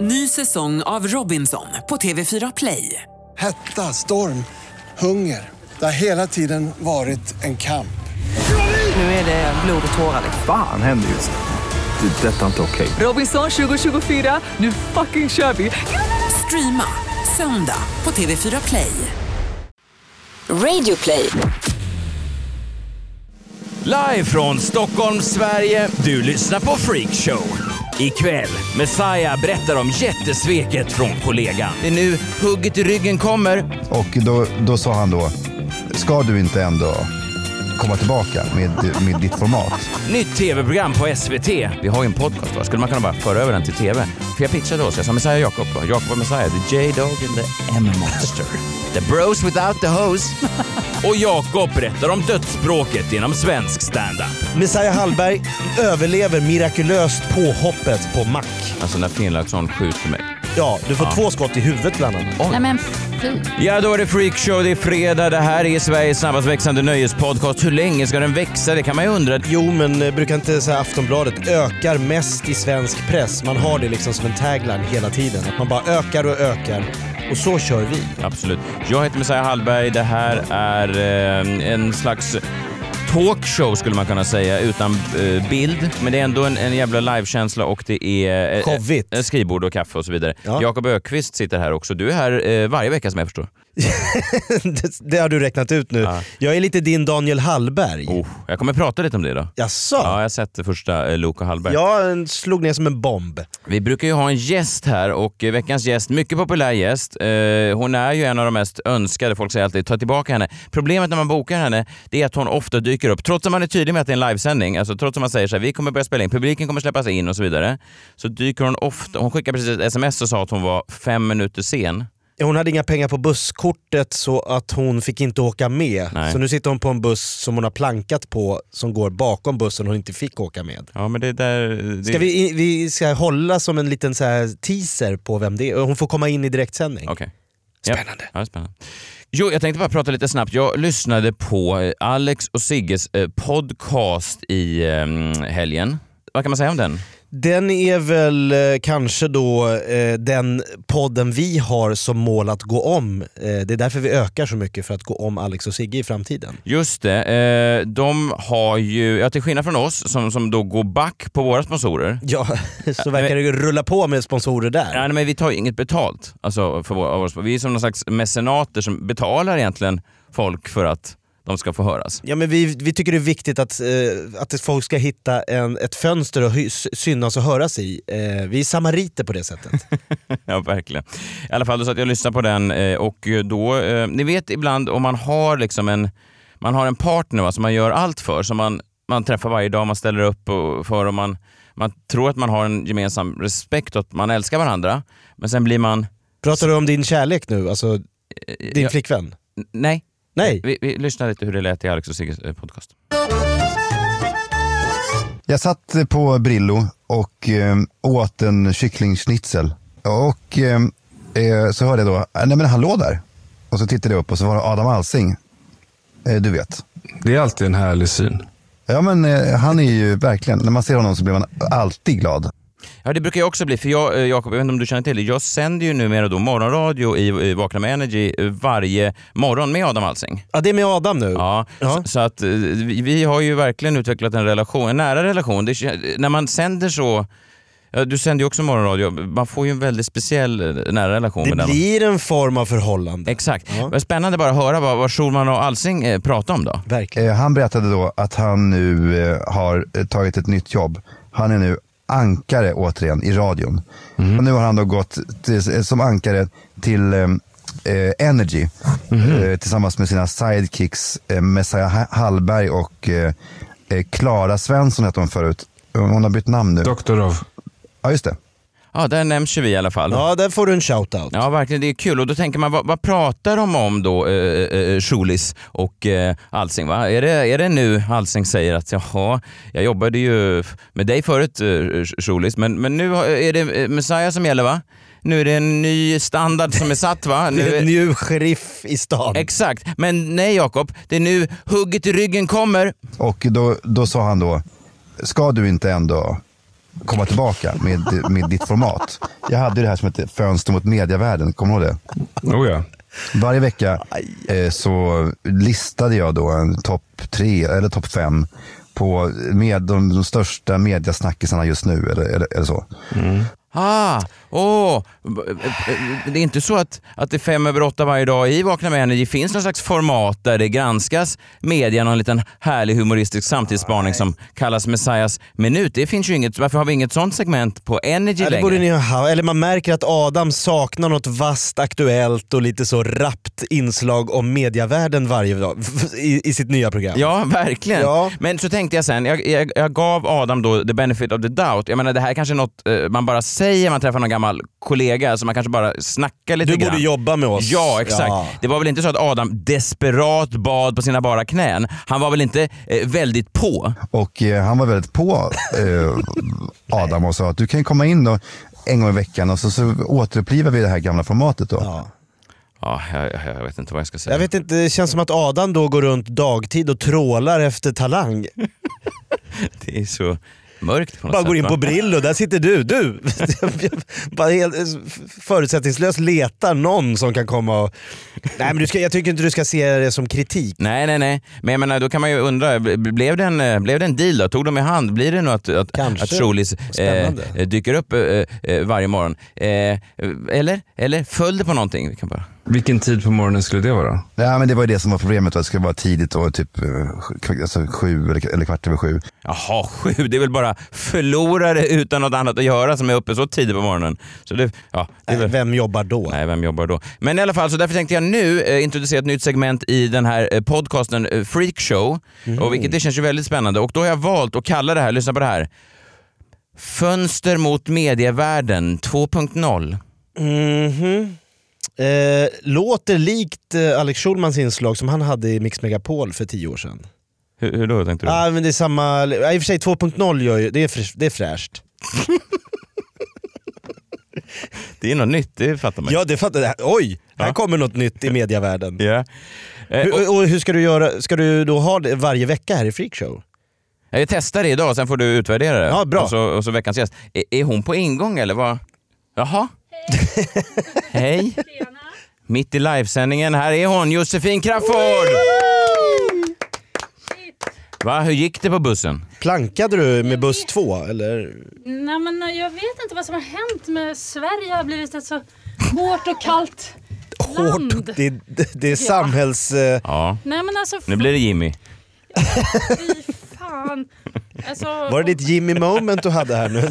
Ny säsong av Robinson på TV4 Play. Hetta, storm, hunger. Det har hela tiden varit en kamp. Nu är det blod och tårar. Fan händer just nu. Det. är Detta är inte okej. Robinson 2024, nu fucking kör vi! Streama söndag på TV4 Play. Radio play. Live från Stockholm, Sverige. Du lyssnar på Freakshow. Ikväll, Messiah berättar om jättesveket från kollegan. Det är nu hugget i ryggen kommer. Och då, då sa han då, ska du inte ändå komma tillbaka med, med ditt format? Nytt tv-program på SVT. Vi har ju en podcast va? Skulle man kunna bara föra över den till TV? För jag pitchade oss, jag sa Messiah Jakob va? Jakob och Messiah, the J-Dog and the M-Monster. the bros without the hose. Och Jakob berättar om dödsspråket inom svensk standup. Messiah Hallberg överlever mirakulöst påhoppet på Mac. Alltså när Finnlaugsson skjuter mig. Ja, du får två skott i huvudet bland annat. Nej men fy. Ja, då är det freakshow, det är fredag, det här är Sveriges snabbast växande nöjespodcast. Hur länge ska den växa? Det kan man ju undra. Jo, men eh, brukar inte så här Aftonbladet ökar mest i svensk press? Man har det liksom som en tagline hela tiden. Att man bara ökar och ökar. Och så kör Eh, vi. Absolut. Jag heter Messiah Hallberg. Det här är eh, en slags talkshow skulle man kunna säga utan eh, bild. Men det är ändå en, en jävla livekänsla och det är eh, Showigt. eh, skrivbord och kaffe och så vidare. Ja. Jakob Ökvist sitter här också. Du är här eh, varje vecka som jag förstår. det, det har du räknat ut nu. Ja. Jag är lite din Daniel Hallberg. Oh, jag kommer prata lite om det idag. Jaså? Ja, jag har sett det första eh, Loka Hallberg. Jag slog ner som en bomb. Vi brukar ju ha en gäst här och eh, veckans gäst, mycket populär gäst. Eh, hon är ju en av de mest önskade. Folk säger alltid ta tillbaka henne. Problemet när man bokar henne, det är att hon ofta dyker upp. Trots att man är tydlig med att det är en livesändning, alltså trots att man säger så här, vi kommer börja spela in, publiken kommer släppas in och så vidare. Så dyker hon ofta, hon skickade precis ett sms och sa att hon var fem minuter sen. Hon hade inga pengar på busskortet så att hon fick inte åka med. Nej. Så nu sitter hon på en buss som hon har plankat på som går bakom bussen hon inte fick åka med. Ja men det där... Det... Ska vi, vi ska hålla som en liten så här teaser på vem det är. Hon får komma in i direktsändning. Okej. Spännande. Ja, det är spännande. Jo, jag tänkte bara prata lite snabbt. Jag lyssnade på eh, Alex och Sigges eh, podcast i eh, helgen. Vad kan man säga om den? Den är väl eh, kanske då eh, den podden vi har som mål att gå om. Eh, det är därför vi ökar så mycket, för att gå om Alex och Sigge i framtiden. Just det. Eh, de har ju, ja, till skillnad från oss som, som då går back på våra sponsorer. Ja, så Eh, verkar det ju rulla på med sponsorer där. Nej, men vi tar ju inget betalt. Alltså, för våra, av våra, spon- vi är som någon slags mecenater som betalar egentligen folk för att de ska få höras. Ja, men vi, vi tycker det är viktigt att, eh, att folk ska hitta en, ett fönster att hy- synas och höras i. Eh, vi är samariter på det sättet. Ja, verkligen. I alla fall så att jag lyssnar på den eh, och då, eh, ni vet ibland om man har liksom en, man har en partner va, som man gör allt för, som man, man träffar varje dag, man ställer upp och, för och man, man tror att man har en gemensam respekt och att man älskar varandra. Men sen blir man... Pratar du om din kärlek nu? Alltså din Eh, Ja, flickvän? nej. Nej? Vi, vi lyssnar lite hur det lät i Alex och Sigges eh, podcast. Jag satt på Brillo och eh, åt en kycklingschnitzel. Och eh, eh, så hörde jag då, nej men hallå där. Och så tittade jag upp och så var det Adam Alsing. Eh, du vet. Det är alltid en härlig syn. Ja men eh, han är ju verkligen, när man ser honom så blir man alltid glad. Ja, det brukar jag också bli. För jag, eh, Jakob, jag vet inte om du känner till det. Jag sänder ju numera då morgonradio i, i Vakna med Energy eh, varje morgon med Adam Alsing. Ja, det är med Adam nu. Ja, Ja. Så, så att eh, vi, vi har ju verkligen utvecklat en relation, en nära relation. Det, kän- när man sänder så, ja, du sänder ju också morgonradio, man får ju en väldigt speciell eh, nära relation det med den. blir en form av förhållande. Exakt. Ja. Men Spännande bara att höra vad, vad Schulman och Alsing eh, pratar om då. Verkligen. Eh, han berättade då att han nu eh, har eh, tagit ett nytt jobb. Han är nu ankare återigen i radion. Och nu har han då gått till, eh, som ankare till eh, eh, Energy eh, tillsammans med sina sidekicks eh, Messiah Ha- Hallberg och eh, eh, Klara Svensson hette hon förut. Hon har bytt namn nu. Doktor av. Ja, just det. Ja, där nämns ju vi i alla fall. Ja, där får du en shoutout. Ja, verkligen. Det är kul. Och då tänker man, vad, vad pratar de om då, eh, eh, Schulis och eh, Alsing? Va? Är, det, är det nu Alsing säger att jaha, jag jobbade ju med dig förut eh, Sch- Schulis, men, men nu har- är det eh, Messiah som gäller va? Nu är det en ny standard som är satt va? Nu Det är en är, ny sheriff i stan. exakt. Men nej Jakob, det är nu hugget i ryggen kommer. Och då, då sa han då, ska du inte ändå komma tillbaka med, med ditt format. Jag hade ju det här som hette Fönster mot medievärlden, kommer du ihåg det? Oh ja. Varje vecka eh, så listade jag då en topp tre eller topp fem på med de, de största mediasnackisarna just nu eller, eller, eller så. Ah, åh! B- b- Det är inte så att, att det är fem över åtta varje dag i Vakna med energi finns någon slags format där det granskas media, någon liten härlig humoristisk samtidsspaning som kallas Messias minut. Det finns ju inget, varför har vi inget sånt segment på Energy Ja, det längre? borde ni ha. Eller man märker att Adam saknar något vasst, aktuellt och lite så rappt inslag om medievärlden varje dag i, i sitt nya program. Ja, verkligen. Ja. Men så tänkte jag sen, jag, jag, jag gav Adam då the benefit of the doubt. Jag menar det här kanske är något eh, man bara säger, man träffar någon gammal kollega, så man kanske bara snackar lite du borde grann. jobba med oss. Ja, exakt. Ja. Det var väl inte så att Adam desperat bad på sina bara knän. Han var väl inte eh, väldigt på. Och eh, han var väldigt på eh, Adam och sa att du kan komma in då en gång i veckan och så, så återupplivar vi det här gamla formatet då. Ja, jag, jag- jag vet inte vad jag ska säga. Jag vet inte, det känns som att Adam då går runt dagtid och trålar efter talang. Det är så mörkt på något Bara sätt. går in va? på Brillo, där sitter du. Du! Bara helt eh, förutsättningslöst letar någon som kan komma och... Nej men du ska, jag tycker inte du ska se det som kritik. Nej, nej, nej. Men jag menar, då kan man ju undra, b- blev det en, eh, blev det en deal då? Tog de i hand? Blir det nog att, att, Kanske. att Trolis eh, Spännande. eh, dyker upp eh, eh, varje morgon? Eh, eller? Eller föll det på någonting? Vi kan bara... Vilken tid på morgonen skulle det vara? Nej, men det var ju det som var problemet, va? det skulle vara tidigt och typ eh, sj- alltså, sju eller, eller kvart över sju. Jaha, sju. Det är väl bara förlorare utan något annat att göra som är uppe så tidigt på morgonen. Så det, ja, det är väl... Eh, Vem jobbar Äh, då? Nej, vem jobbar då? Men i alla fall, så därför tänkte jag nu eh, introducera ett nytt segment i den här eh, podcasten eh, Freak Show. Mhm. Och vilket det känns ju väldigt spännande. Och då har jag valt att kalla det här, lyssna på det här, Fönster mot medievärlden 2.0. Mhm. Eh, låter likt eh, Alex Schulmans inslag som han hade i Mix Megapol för tio år sedan. Hur, hur då tänkte du? Ah, men det är samma, ja, i och för sig 2.0 gör ju, det är, fräsch, det är fräscht. Det är något nytt, det fattar man ju. Ja det fattar jag. Oj! Här kommer något nytt i medievärlden. Ja. Eh, Hur, och, och hur ska du göra? Ska du då ha det varje vecka här i Freakshow? Jag testar det idag, sen får du utvärdera det. Ja, bra. Och, så, och så veckans gäst. Är, är hon på ingång eller vad? Jaha? Hej. Mitt i livesändningen, här är hon, Josefin Crafoord! Va, hur gick det på bussen? Plankade du med buss två? Eller? Nej, men jag vet inte vad som har hänt med Sverige. Det har blivit ett så hårt och kallt land. Hårt. Det, är- det, det är samhälls... Eh, Ja, Nej, men alltså, nu blir det Jimmy. fy fan. Alltså, var det ditt Jimmy moment du hade här nu?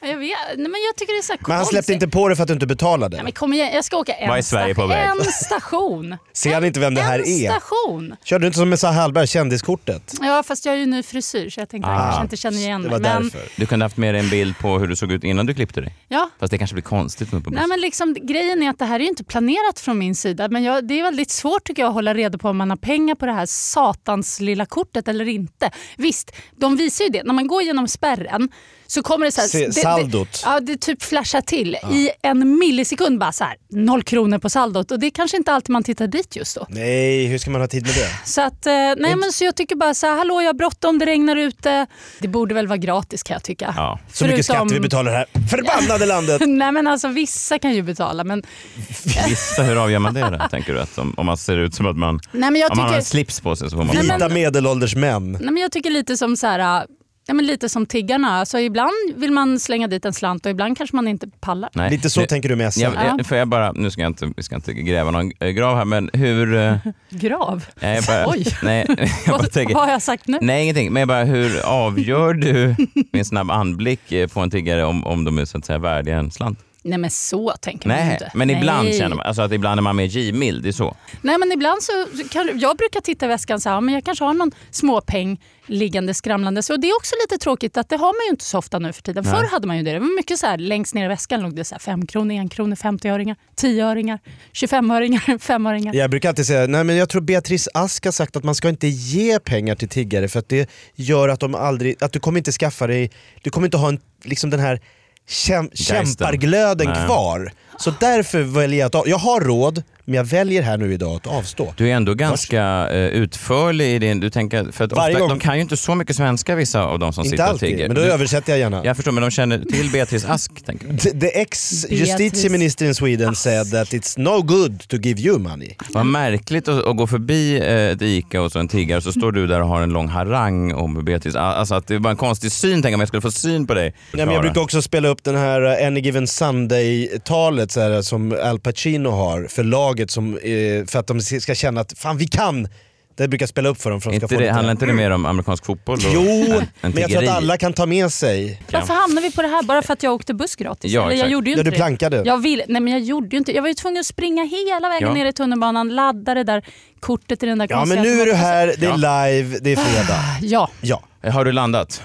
Jag vet Nej, men jag tycker det är så här Men han släppte konstigt. inte på dig för att du inte betalade? Nej, men kom igen, jag ska åka en, Vad är Sverige på station. väg? en station. Ser han inte vem det här en är? station. Kör du inte som Messiah Hallberg, kändiskortet? Ja, fast jag har ju ny frisyr så jag tänkte att jag kanske inte känner igen Ah, Det mig. var men, därför. Du kunde haft med dig en bild på hur du såg ut innan du klippte dig. Ja. Fast det kanske blir konstigt nu på bussen. Nej, men liksom, grejen är att det här är ju inte planerat från min sida. Men jag, det är väldigt svårt tycker jag att hålla reda på om man har pengar på det här satans lilla kortet eller inte. Visst, de visar ju det. När man går genom spärren så kommer det så här... Se- det, saldot. Det, ja, det typ flashar till i en millisekund. Bara så här, noll kronor på saldot. Och det är kanske inte alltid man tittar dit just då. Nej, hur ska man ha tid med det? Så, att, eh, nej, men så jag tycker bara så här, hallå jag har bråttom, det regnar ute. Det borde väl vara gratis kan jag tycka. Ja. Så mycket Förutom- skatt vi betalar här. Förbannade landet! Nej men alltså vissa kan ju betala men Vissa, hur avgör man det då, tänker du? Att om, om man ser ut som att man... Nej, men jag om man har tycker- en slips på sig så får man... Nej, men- Vita medelålders män. Nej, men jag tycker lite som så här, äh, ja, men lite som tiggarna. Alltså, ibland vill man slänga dit en slant och ibland kanske man inte pallar. Nej. Lite så Nu- tänker du med SM. Jag, jag, får jag bara, nu ska jag inte, vi ska inte gräva någon eh, grav här, men hur... eh, Grav? Nej, jag bara, Oj. Nej, jag bara Vad, tänker, vad har jag sagt nu? nej, ingenting. Men jag bara, hur avgör du med en snabb anblick eh, på en tiggare om, om de är så att säga värdiga en slant? Nej men så tänker man ju Nej, inte. men ibland Nej. känner man, alltså att ibland är man mer givmild, det är så. Nej men ibland så kan, jag brukar titta i väskan så här, ja, men jag kanske har någon småpeng liggande skramlande. Så det är också lite tråkigt att det har man ju inte så ofta nu för tiden. Förr hade man ju det. Det var mycket så här, längst ner i väskan låg det så här, fem kronor, en kronor, 50-öringar, 10-öringar, 25-öringar, 5-öringar. Jag brukar alltid säga, nej men jag tror Beatrice Ask har sagt att man ska inte ge pengar till tiggare för att det gör att de aldrig, att du kommer inte skaffa dig, du kommer inte ha en, liksom den här käm, Geisten. kämparglöden Nej. kvar. Så därför väljer jag att, jag har råd Men jag väljer här nu idag att avstå. Du är ändå ganska eh, utförlig i din... Du tänker, för att Varje ofta, gång. de kan ju inte så mycket svenska vissa av de som Inte sitter och alltid, tigger. men då Du- översätter jag gärna. Jag förstår, men de känner till Beatrice Ask, tänker jag. The, the ex-justitieminister in Sweden said that it's no good to give you money. Vad märkligt att, att gå förbi eh, ett Ica och så en tiggare så står du där och har en lång harang om Beatrice Ask. Alltså att det var en konstig syn, tänk om jag skulle få syn på dig. Nej, men Klara. jag brukar också spela upp den här eh, Any Given Sunday-talet så här, eh, som Al Pacino har för laget som, eh, för att de ska känna att fan vi kan! Det brukar jag spela upp för dem för att de ska inte få det, lite- Mm. handlar inte det mer om amerikansk fotboll? och en- Jo, en men jag tror tiggeri? att alla kan ta med sig. Varför hamnar vi på det här? Bara för att jag åkte buss gratis? Ja, Eller jag exakt. gjorde ju Ja, inte du det. plankade. Jag, ville, nej, men jag gjorde ju inte Jag var ju tvungen att springa hela vägen Ja. ner i tunnelbanan, ladda det där kortet i den där Ja men konstiga nu är du automaten. här, det är live, det är fredag. Ja. Ja. Har du landat?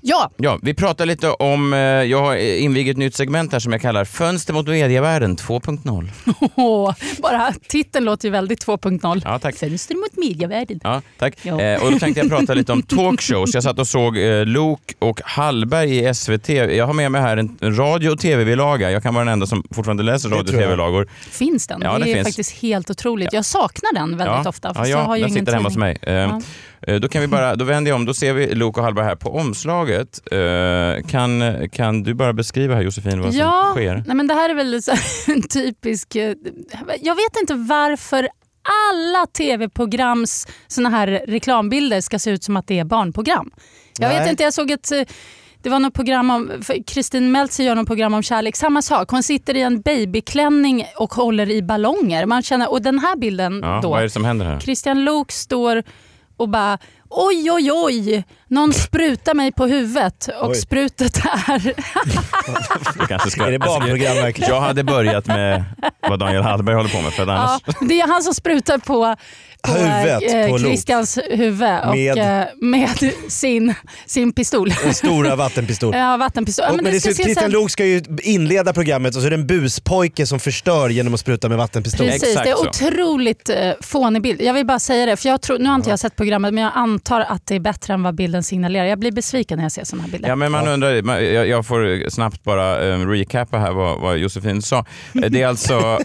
ja. Ja, vi pratar lite om... eh, Jag har invigt ett nytt segment här som jag kallar Fönster mot medievärlden 2.0. Åh, bara titeln låter ju väldigt 2.0. Ja, tack. Fönster mot medievärlden. Ja, tack. Ja. Eh, och då tänkte jag prata lite om talkshows. Jag satt och såg eh, Lok och Hallberg i SVT. Jag har med mig här en en radio och tv-bilaga. Jag kan vara den enda som fortfarande läser radio och tror jag. tv-lagor. Finns den? Ja, det, det är finns. faktiskt helt otroligt. Jag saknar den väldigt ofta. ja, fast jag ja har ju den ingen sitter hemma hos tidning. mig. Eh, eh, Då, kan vi bara, då vänder jag om, då ser vi Lok och Hallberg här på omslaget. Eh, Kan, kan du bara beskriva här Josefin vad ja, som sker? Nej, men det här är väl så, en typisk... eh, Jag vet inte varför alla tv-programs såna här reklambilder ska se ut som att det är barnprogram. Jag Nej. vet inte, jag såg ett... eh, Det var något program om... för Kristin Meltzer gör något program om kärlek. Samma sak. Hon sitter i en babyklänning och håller i ballonger. Man känner, och den här bilden Ja, då. vad är det som händer här? Christian Lok står och bara oj, oj, oj, någon sprutar mig på huvudet och Oj. sprutet är... Alltså, Jag kanske ska- Är det barnprogram verkligen? Jag hade börjat med vad Daniel Hallberg håller på med för att annars... Ja, det är han som sprutar på, på Huvudet eh, på Lok. Christians huvud och, Med- med, eh, med sin, sin pistol. Den stora vattenpistol. Ja, vattenpistol. Ja, Och, men det ska ser ut, se Christian sen- Luuk ska ju inleda programmet och så är det en buspojke som förstör genom att spruta med vattenpistol. Precis, Exakt det är så. otroligt eh, fånig bild. Jag vill bara säga det, för jag tror, nu har inte jag sett programmet men jag antar att det är bättre än vad bilden signalerar. Jag blir besviken när jag ser sådana här bilder. Ja, men man undrar, man- jag, jag får snabbt bara eh, recappa här vad, vad Josefin sa. Eh, Det är alltså...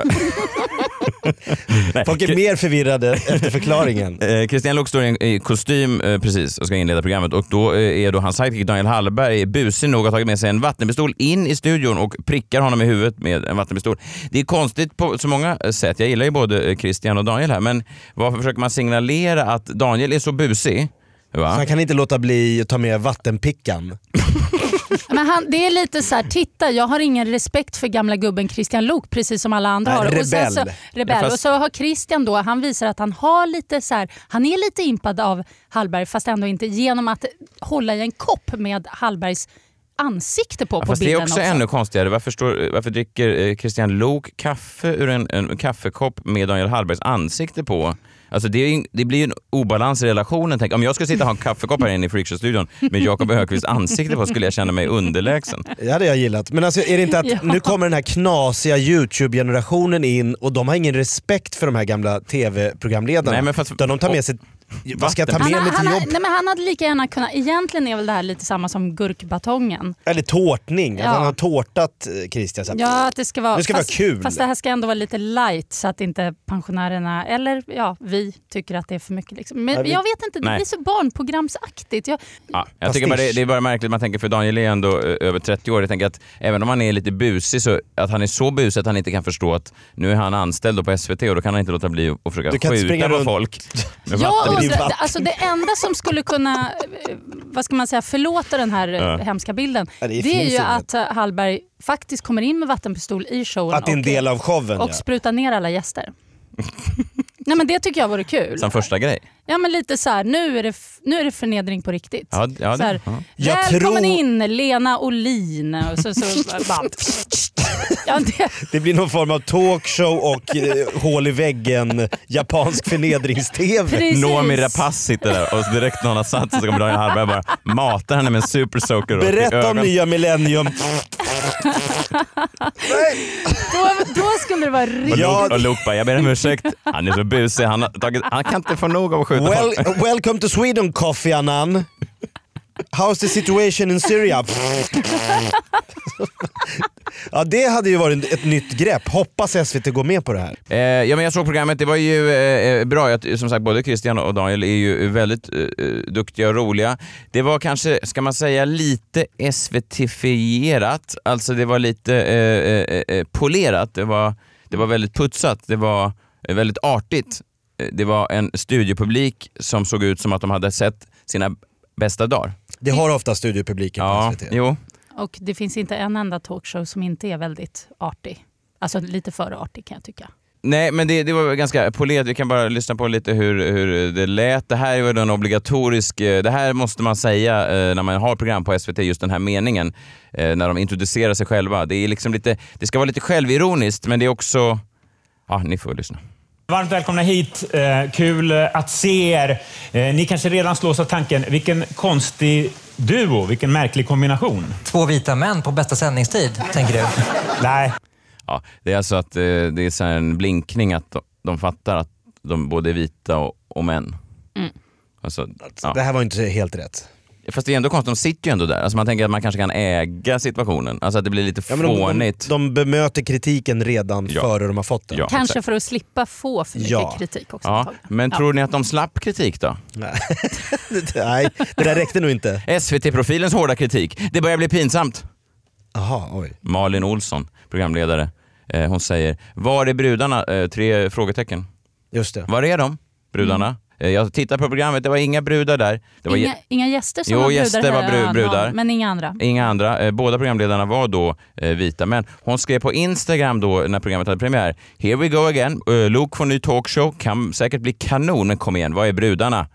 Nej, Folk är mer förvirrade efter förklaringen. Eh, Christian Luuk står i en- i kostym eh, precis och ska inleda programmet och då eh, är då hans sidekick Daniel Hallberg busig nog att ha tagit med sig en vattenpistol in i studion och prickar honom i huvudet med en vattenpistol. Det är konstigt på så många eh, sätt. Jag gillar ju både eh, Christian och Daniel här men varför försöker man signalera att Daniel är så busig? Så Va? han kan inte låta bli att ta med vattenpickan. Men han, det är lite så här, titta jag har ingen respekt för gamla gubben Christian Lok precis som alla andra Nej, har. Och sen så, rebell. rebell. Ja, fast- Och så har Christian då, han visar att han har lite så här, han är lite impad av Hallberg fast ändå inte genom att hålla i en kopp med Hallbergs ansikte på Ja, på fast det är bilden också, ännu konstigare. Varför, står, varför dricker eh, Christian Lok kaffe ur en, en kaffekopp med Daniel Hallbergs ansikte på? Alltså det, är, ju- det blir ju en obalans i relationen. Tänk, om jag skulle sitta och ha en kaffekopp här inne i Freakshow-studion med Jakob Högqvists ansikte på skulle jag känna mig underlägsen. Det hade jag gillat. Men alltså, är det inte att Ja. nu kommer den här knasiga YouTube-generationen in och de har ingen respekt för de här gamla TV-programledarna. Nej, men fast- Utan de tar med sig... Vad ska jag ta Vatten. med Han, mig han, till han, jobb? nej men han hade lika gärna kunnat, egentligen är väl det här lite samma som gurkbatongen. Eller tårtning. Att Ja. han har tårtat eh, Christian. Så att- Ja, att det ska vara, Nu ska det vara fast, kul. Fast det här ska ändå vara lite light så att inte pensionärerna, eller ja, vi tycker att det är för mycket. Liksom. Men Nej, vi- jag vet inte, det Nej. blir så barnprogramsaktigt. Jag, Ja, jag tycker bara det, det är bara märkligt, man tänker för Daniel är ändå eh, över 30 år. Jag tänker att även om han är lite busig, så, att han är så busig att han inte kan förstå att nu är han anställd då på SVT och då kan han inte låta bli att försöka Du kan inte springa skjuta på runt. folk. med jag vattenpistol. undrar, vatten. alltså det enda som skulle kunna eh, vad ska man säga, förlåta den här ja. hemska bilden, Ja, det det, finns är ju inget. att eh, Hallberg faktiskt kommer in med vattenpistol i showen Att det är en och, del av showen. och ja. sprutar ner alla gäster. Nej men Det tycker jag vore kul. Som första grej. Ja men lite så här, nu är det, f- nu är det förnedring på riktigt. Ja, d- ja, det- så här, ja. Jag Välkommen tror- in Lena Olin. Och så, så, bara, ja, det, Det blir någon form av talkshow och eh, hål i väggen japansk förnedrings-tv. precis. Noomi Rapace sitter där och direkt när hon har satt sig så kommer Daniel Hallberg bara mata henne med en super soaker rakt i Berätta om ögonen. nya millennium. Då, då skulle det vara Och riktigt. Luke, och Luke bara, jag ber om ursäkt. Han är så busig. Han, har tagit, han kan inte få nog av att skjuta Well, folk. welcome to Sweden Kofi Annan. How's the situation in Syria? ja, det hade ju varit ett nytt grepp. Hoppas SVT går med på det här. Eh, ja, men jag såg programmet. Det var ju eh, bra. Jag, som sagt, både Christian och Daniel är ju väldigt eh, duktiga och roliga. Det var kanske, ska man säga, lite SVT-fierat. Alltså det var lite eh, eh, eh, polerat. Det var, det var väldigt putsat. Det var eh, väldigt artigt. Eh, Det var en studiopublik som såg ut som att de hade sett sina bästa dagar. Det har ofta studiopubliken Ja, på SVT. jo. Och det finns inte en enda talkshow som inte är väldigt artig. Alltså lite för artig kan jag tycka. Nej, men det, det var ganska polerat. Vi kan bara lyssna på lite hur, hur det lät. Det här är väl en obligatorisk... eh, Det här måste man säga eh, när man har program på SVT, just den här meningen. Eh, när de introducerar sig själva. Det, är liksom lite, det ska vara lite självironiskt, men det är också... Ja, ni får lyssna. Varmt välkomna hit. Eh, Kul eh, att se er. Eh, Ni kanske redan slås av tanken, vilken konstig duo, vilken märklig kombination. Två vita män på bästa sändningstid, tänker du? Nej, Ja, det är alltså att eh, det är så här en blinkning att de, de fattar att de både är vita och, och män. Alltså, Det ja. här var ju inte helt rätt. Fast det är ändå konstigt, de sitter ju ändå där. Alltså man tänker att man kanske kan äga situationen. Alltså att det blir lite Ja, men de, de, fånigt. de bemöter kritiken redan Ja. före de har fått den. Ja. Kanske för att slippa få för mycket Ja. kritik också. Ja, antagligen. men Ja. tror ni att de slapp kritik då? Nej, det där räckte nog inte. SVT-profilens hårda kritik. Det börjar bli pinsamt. Aha, oj. Malin Olsson, programledare, eh, hon säger “Var är brudarna?” eh, Tre frågetecken. Just det. Var är de, brudarna? Eh, jag tittar på programmet, det var inga brudar där. Det var Mm. inga, inga gäster som Jo, var brudar gäster var här, bru- ja, någon, brudar. Men inga andra. Inga andra. Eh, Båda programledarna var då eh, vita män. Hon skrev på Instagram då när programmet hade premiär. “Here we go again. Eh, Luke får ny talkshow. Kan säkert bli kanon, men kom igen, var är brudarna?”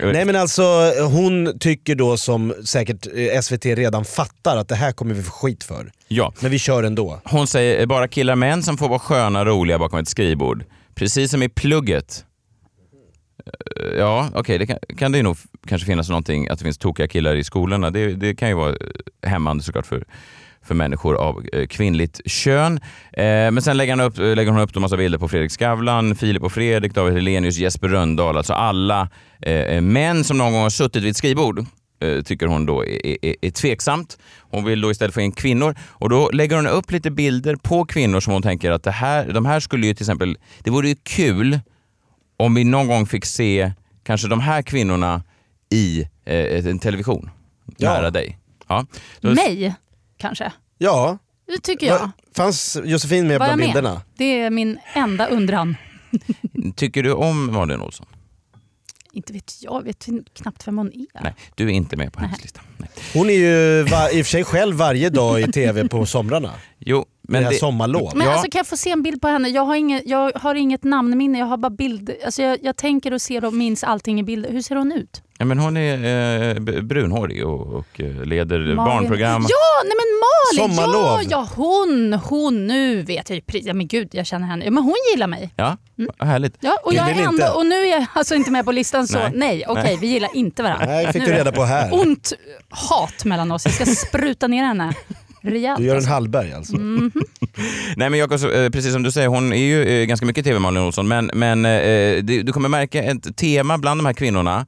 Eh, Nej men alltså hon tycker då som säkert eh, SVT redan fattar att det här kommer vi få skit för. Ja. Men vi kör ändå. Hon säger eh, bara killar och män som får vara sköna och roliga bakom ett skrivbord. Precis som i plugget. Eh, Ja, okej, det kan, kan det ju nog f- kanske finnas någonting att det finns tokiga killar i skolorna. Det, det kan ju vara eh, hämmande såklart för, för människor av eh, kvinnligt kön. Eh, men sen lägger, han upp, eh, lägger hon upp en massa bilder på Fredrik Skavlan, Filip och Fredrik, David Hellenius, Jesper Rönndahl. Alltså alla eh, eh, män som någon gång har suttit vid ett skrivbord eh, tycker hon då är, är- är, är tveksamt. Hon vill då istället få in kvinnor och då lägger hon upp lite bilder på kvinnor som hon tänker att det här, de här skulle ju till exempel, det vore ju kul om vi någon gång fick se kanske de här kvinnorna i eh, ett- en television Ja. nära dig. Ja. Då- Mig, kanske. Ja, Det tycker jag. Va- fanns Josefin med Var jag bland med? bilderna? Det är min enda undran. Tycker du om Malin Olsson? Inte vet jag, vet knappt vem hon är. Nej, du är inte med på hennes lista. Nej. Hon är ju va- i och för sig själv varje dag i tv på somrarna. Jo, men Men det här det, sommarlov. Men Ja. alltså, kan jag få se en bild på henne? Jag har inget, jag har inget namnminne, jag har bara bild. Alltså, jag, jag tänker och ser och minns allting i bild. Hur ser hon ut? ja, men hon är eh, b- brunhårig och, och eh, leder Malin. barnprogram. Ja, nej men Malin! Sommarlov. Ja, ja, hon, hon, nu vet jag ju. pri- Ja, men gud, jag känner henne. Ja, men hon gillar mig. Ja, Mm. vad härligt. Ja, och, Vill jag ni är inte? ändå, och nu är jag alltså inte med på listan så Nej. nej, okej vi gillar inte varandra. Nej, fick Nu du är reda på det här. Ont hat mellan oss, jag ska spruta ner henne rejält. Du gör en Hallberg alltså. Mm. Nej men Jakob, eh, precis som du säger, hon är ju eh, ganska mycket TV Malin Olsson, men, men eh, det- du kommer märka ett tema bland de här kvinnorna.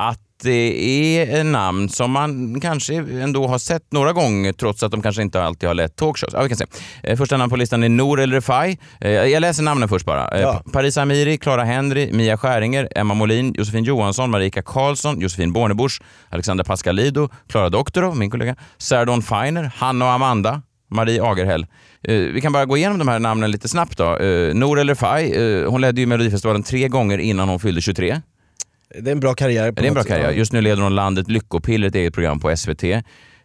Att det är namn som man kanske ändå har sett några gånger trots att de kanske inte alltid har lett talkshows. Ja, vi kan se. Eh, Första namn på listan är Nour El Refai. Eh, Jag läser namnen först bara. Eh, Ja. Pa- Paris Amiri, Clara Henry, Mia Skäringer, Emma Molin, Josefin Johansson, Marika Karlsson, Josefin Bornebusch, Alexandra Pascalido, Clara Doktorov, min kollega, Serdon Feiner, Hanna och Amanda, Marie Agerhäll. Eh, vi kan bara gå igenom de här namnen lite snabbt då. Eh, Nour El Refai, eh, hon ledde ju Melodifestivalen tre gånger innan hon fyllde 23. Det är en bra karriär. På Det är en bra något sätt. karriär. Just nu leder hon landet Lyckopiller, ett eget program på SVT.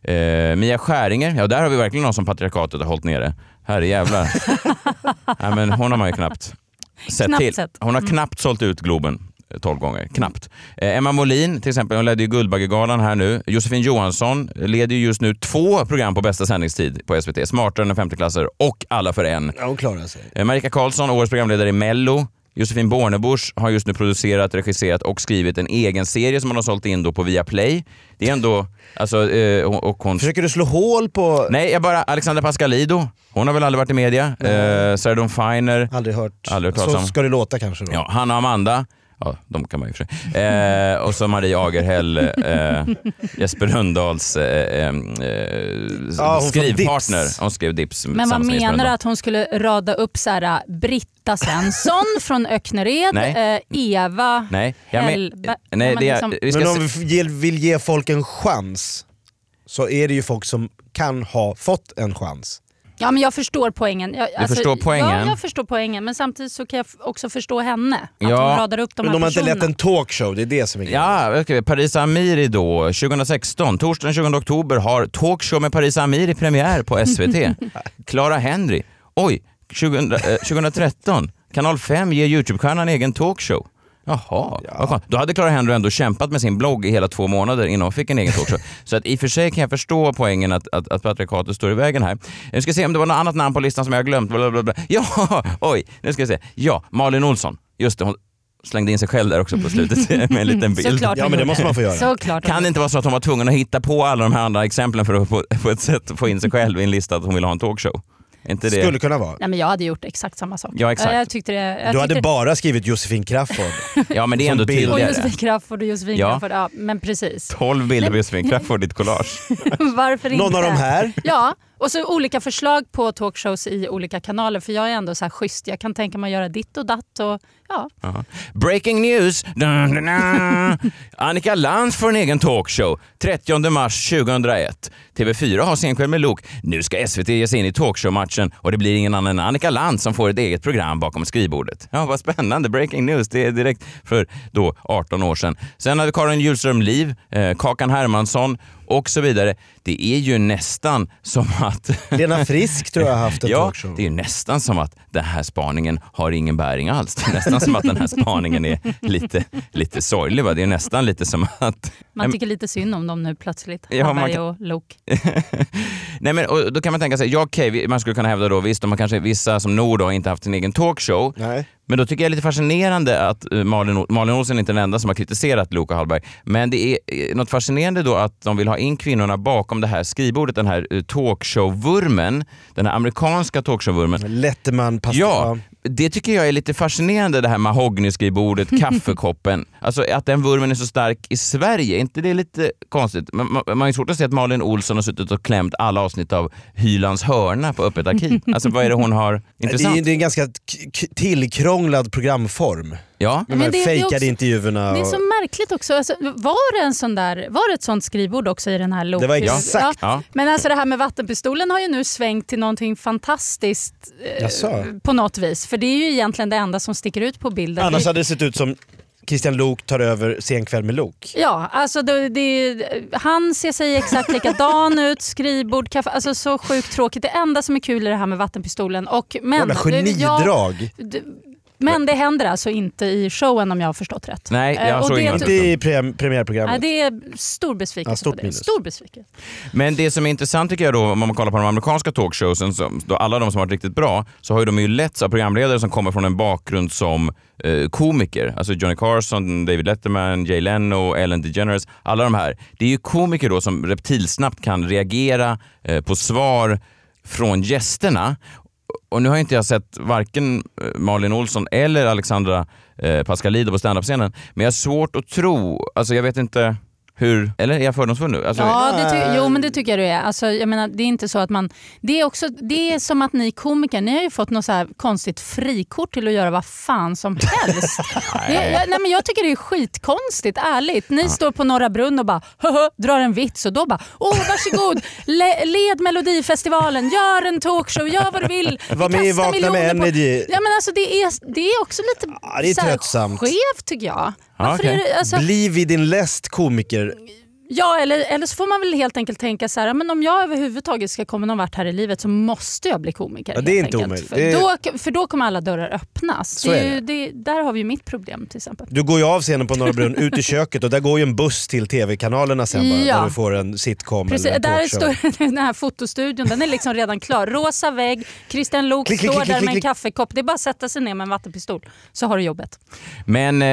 Eh, Mia Skäringer, ja där har vi verkligen någon som patriarkatet har hållit nere. Herrejävlar. Nej men hon har man ju knappt sett Knappt till. sett. Hon Mm. har knappt sålt ut Globen. eh, 12 gånger, knappt. Eh, Emma Molin till exempel, hon ledde ju Guldbaggegalan här nu. Josefin Johansson leder ju just nu två program på bästa sändningstid på SVT. Smartare än femteklasser och Alla för en. Ja, hon klarar sig. Eh, Marika Karlsson, årets programledare i Mello. Josefin Bornebusch har just nu producerat, regisserat och skrivit en egen serie som hon har sålt in då på Viaplay. Det är ändå... Alltså, eh, och, och hon... Försöker du slå hål på... Nej, jag bara... Alexandra Pascalido. Hon har väl aldrig varit i media. Eh, Sarah Dawn Finer. Aldrig hört. Aldrig hört talas så om. ska det låta kanske då. Ja, Hanna och Amanda. Ja, de kan man ju för sig. Eh, och så Marie Agerhäll, eh, Jesper Rundahls eh, eh, Ja, hon från Dips. skrivpartner. Hon skrev Dips Men vad tillsammans med Jesper menar du Rönndahl. att hon skulle rada upp så här, äh, Britta Svensson från Öcknered, Nej. eh, Eva Nej, jag men, Hellberg? nej men det, liksom- vi ska Men om se- vi f- ge- vill ge folk en chans så är det ju folk som kan ha fått en chans. Ja men jag förstår poängen. Jag, alltså, förstår poängen. Ja, jag förstår poängen. Men samtidigt så kan jag f- också förstå henne. Att Ja, hon radar upp de Men här de har inte personerna. lett en talkshow, det är det som är grejen. Ja, okay. Paris Amiri då, 2016. Torsdagen 20 oktober har talkshow med Paris Amiri premiär på SVT. Clara Henry. Oj, 2000, eh, 2013. Kanal 5 ger Youtube-stjärnan egen talkshow. Jaha, vad skönt. Då hade Clara Henry ändå kämpat med sin blogg i hela två månader innan hon fick en egen talkshow. Så att i och för sig kan jag förstå poängen att, att, att patriarkatet står i vägen här. Nu ska se om det var något annat namn på listan som jag har glömt. Bla, bla, bla, bla. Ja, oj, nu ska jag se. Ja, Malin Olsson. Just det, hon slängde in sig själv där också på slutet med en liten bild. Såklart Ja, men det måste man få göra. Såklart. Kan det inte vara så att hon var tvungen att hitta på alla de här andra exemplen för att på, på ett sätt få in sig själv i en lista att hon vill ha en talkshow? Är Inte det? Skulle kunna vara. Nej, men jag hade gjort exakt samma sak. Ja, exakt. Jag tyckte det, jag Du tyckte hade bara skrivit Josefin Crafoord. Ja men det är ändå Som bild. Och tydligare. Josefin Crafoord och Josefin Ja. Crafoord. Ja, men precis. 12 bilder på Josefin Crafoord i ditt collage. Varför inte? Någon av de här. Ja, och så olika förslag på talkshows i olika kanaler. För jag är ändå så här schysst. Jag kan tänka mig att göra ditt och datt. Och, ja. Breaking news! Dun, dun, dun. Annika Lantz får en egen talkshow 30 mars 2001. TV4 har scenkväll med Luke. Nu ska SVT ge sig in i talkshow-matchen och det blir ingen annan än Annika Lantz som får ett eget program bakom skrivbordet. Ja, vad spännande. Breaking news. Det är direkt för då 18 år sedan. Sen hade Karin Hjulström Liv, eh, Kakan Hermansson och så vidare. Det är ju nästan som att Lena Frisk tror jag har haft en ja, talkshow. det är ju nästan som att den här spaningen har ingen bäring alls. Det är nästan som att den här spaningen är lite, lite sorglig. Va? Det är nästan lite som att... Man tycker lite synd om dem nu plötsligt. Ja, man Hallberg kan- och Lok. Nej, men, och då kan man tänka sig, ja, okej, vi- man skulle kunna hävda då, visst, de har kanske, vissa som Nord har inte haft sin egen talkshow. Nej. Men då tycker jag det är lite fascinerande att eh, Malin, O- Malin Olsson är inte den enda som har kritiserat Loka Hallberg. Men det är eh, något fascinerande då att de vill ha in kvinnorna bakom det här skrivbordet, den här eh, talkshow-vurmen, den här amerikanska talkshow-vurmen. Letterman, pasta. Ja, det tycker jag är lite fascinerande det här mahognyskrivbordet, kaffekoppen. Alltså att den vurmen är så stark i Sverige, är inte det lite konstigt? Man, man, man har ju svårt att se att Malin Olsson har suttit och klämt alla avsnitt av Hylands hörna på Öppet arkiv. Alltså vad är det hon har Det är, intressant? det är en ganska k- k- tillkrånglad programform. Ja. De Men här det- det är fejkade också- intervjuerna. Det är och- så märkligt också. Alltså, var, det en sån där, var det ett sånt skrivbord också i den här Lok? Det var exakt. Ja. Men alltså det här med vattenpistolen har ju nu svängt till någonting fantastiskt eh, Jaså? på något vis. För det är ju egentligen det enda som sticker ut på bilden. Annars hade det sett ut som Christian Lok tar över Sen kväll med Lok. Ja, alltså det, det, han ser sig exakt likadan ut, skrivbord, kaffe, alltså så sjukt tråkigt. Det enda som är kul är det här med vattenpistolen. Och, men, Jävla Ja, genidrag. d- men det händer alltså inte i showen om jag har förstått rätt. Nej, Eh, jag och såg det- inget. Inte i pre- premiärprogrammet. Nej, det är stor besvikelse Ja, stort på det. minus. Stor besvikelse. Men det som är intressant tycker jag då, om man kollar på de amerikanska talkshowsen, som, då alla de som har varit riktigt bra, så har ju de ju letts av programledare som kommer från en bakgrund som eh, komiker. Alltså Johnny Carson, David Letterman, Jay Leno, Ellen DeGeneres. Alla de här. Det är ju komiker då som reptilsnabbt kan reagera eh, på svar från gästerna. Och nu har inte jag sett varken eh, Malin Olsson eller Alexandra eh, Pascalido på standup-scenen, men jag har svårt att tro, alltså jag vet inte hur, eller är jag fördomsfull nu? Alltså, Ja, det ty- jo men det tycker jag du är. Alltså, jag menar, det är inte så att man... Det är, också, det är som att ni komiker, ni har ju fått något så här konstigt frikort till att göra vad fan som helst. nej. Jag, jag, nej, men jag tycker det är skitkonstigt, ärligt. Ni står på Norra Brunn och bara Höhö, drar en vits och då bara åh varsågod, le, led Melodifestivalen, gör en talkshow, gör vad du vill. Vi Var med i kastar Vakna med miljoner på-" Energy. Ja, men alltså, det, är, det är också lite Ja, det är så här tröttsamt. skevt tycker jag. Varför okej. är det, alltså, Bli vid din läst komiker. Ja, eller, eller så får man väl helt enkelt tänka så här, ja, men om jag överhuvudtaget ska komma någon vart här i livet så måste jag bli komiker. Ja, det är helt inte enkelt. omöjligt. För, Det då, för då kommer alla dörrar öppnas. Så det är är ju, det, där har vi ju mitt problem till exempel. Du går ju av scenen på Norra Brunn, ut i köket och där går ju en buss till tv-kanalerna sen bara, Ja. där du får en sitcom Precis, eller en där talkshow. står den här fotostudion, den är liksom redan klar. Rosa vägg, Christian Lok Klick, klick, står klick, där klick, med en klick. kaffekopp. Det är bara att sätta sig ner med en vattenpistol så har du jobbet. Men eh,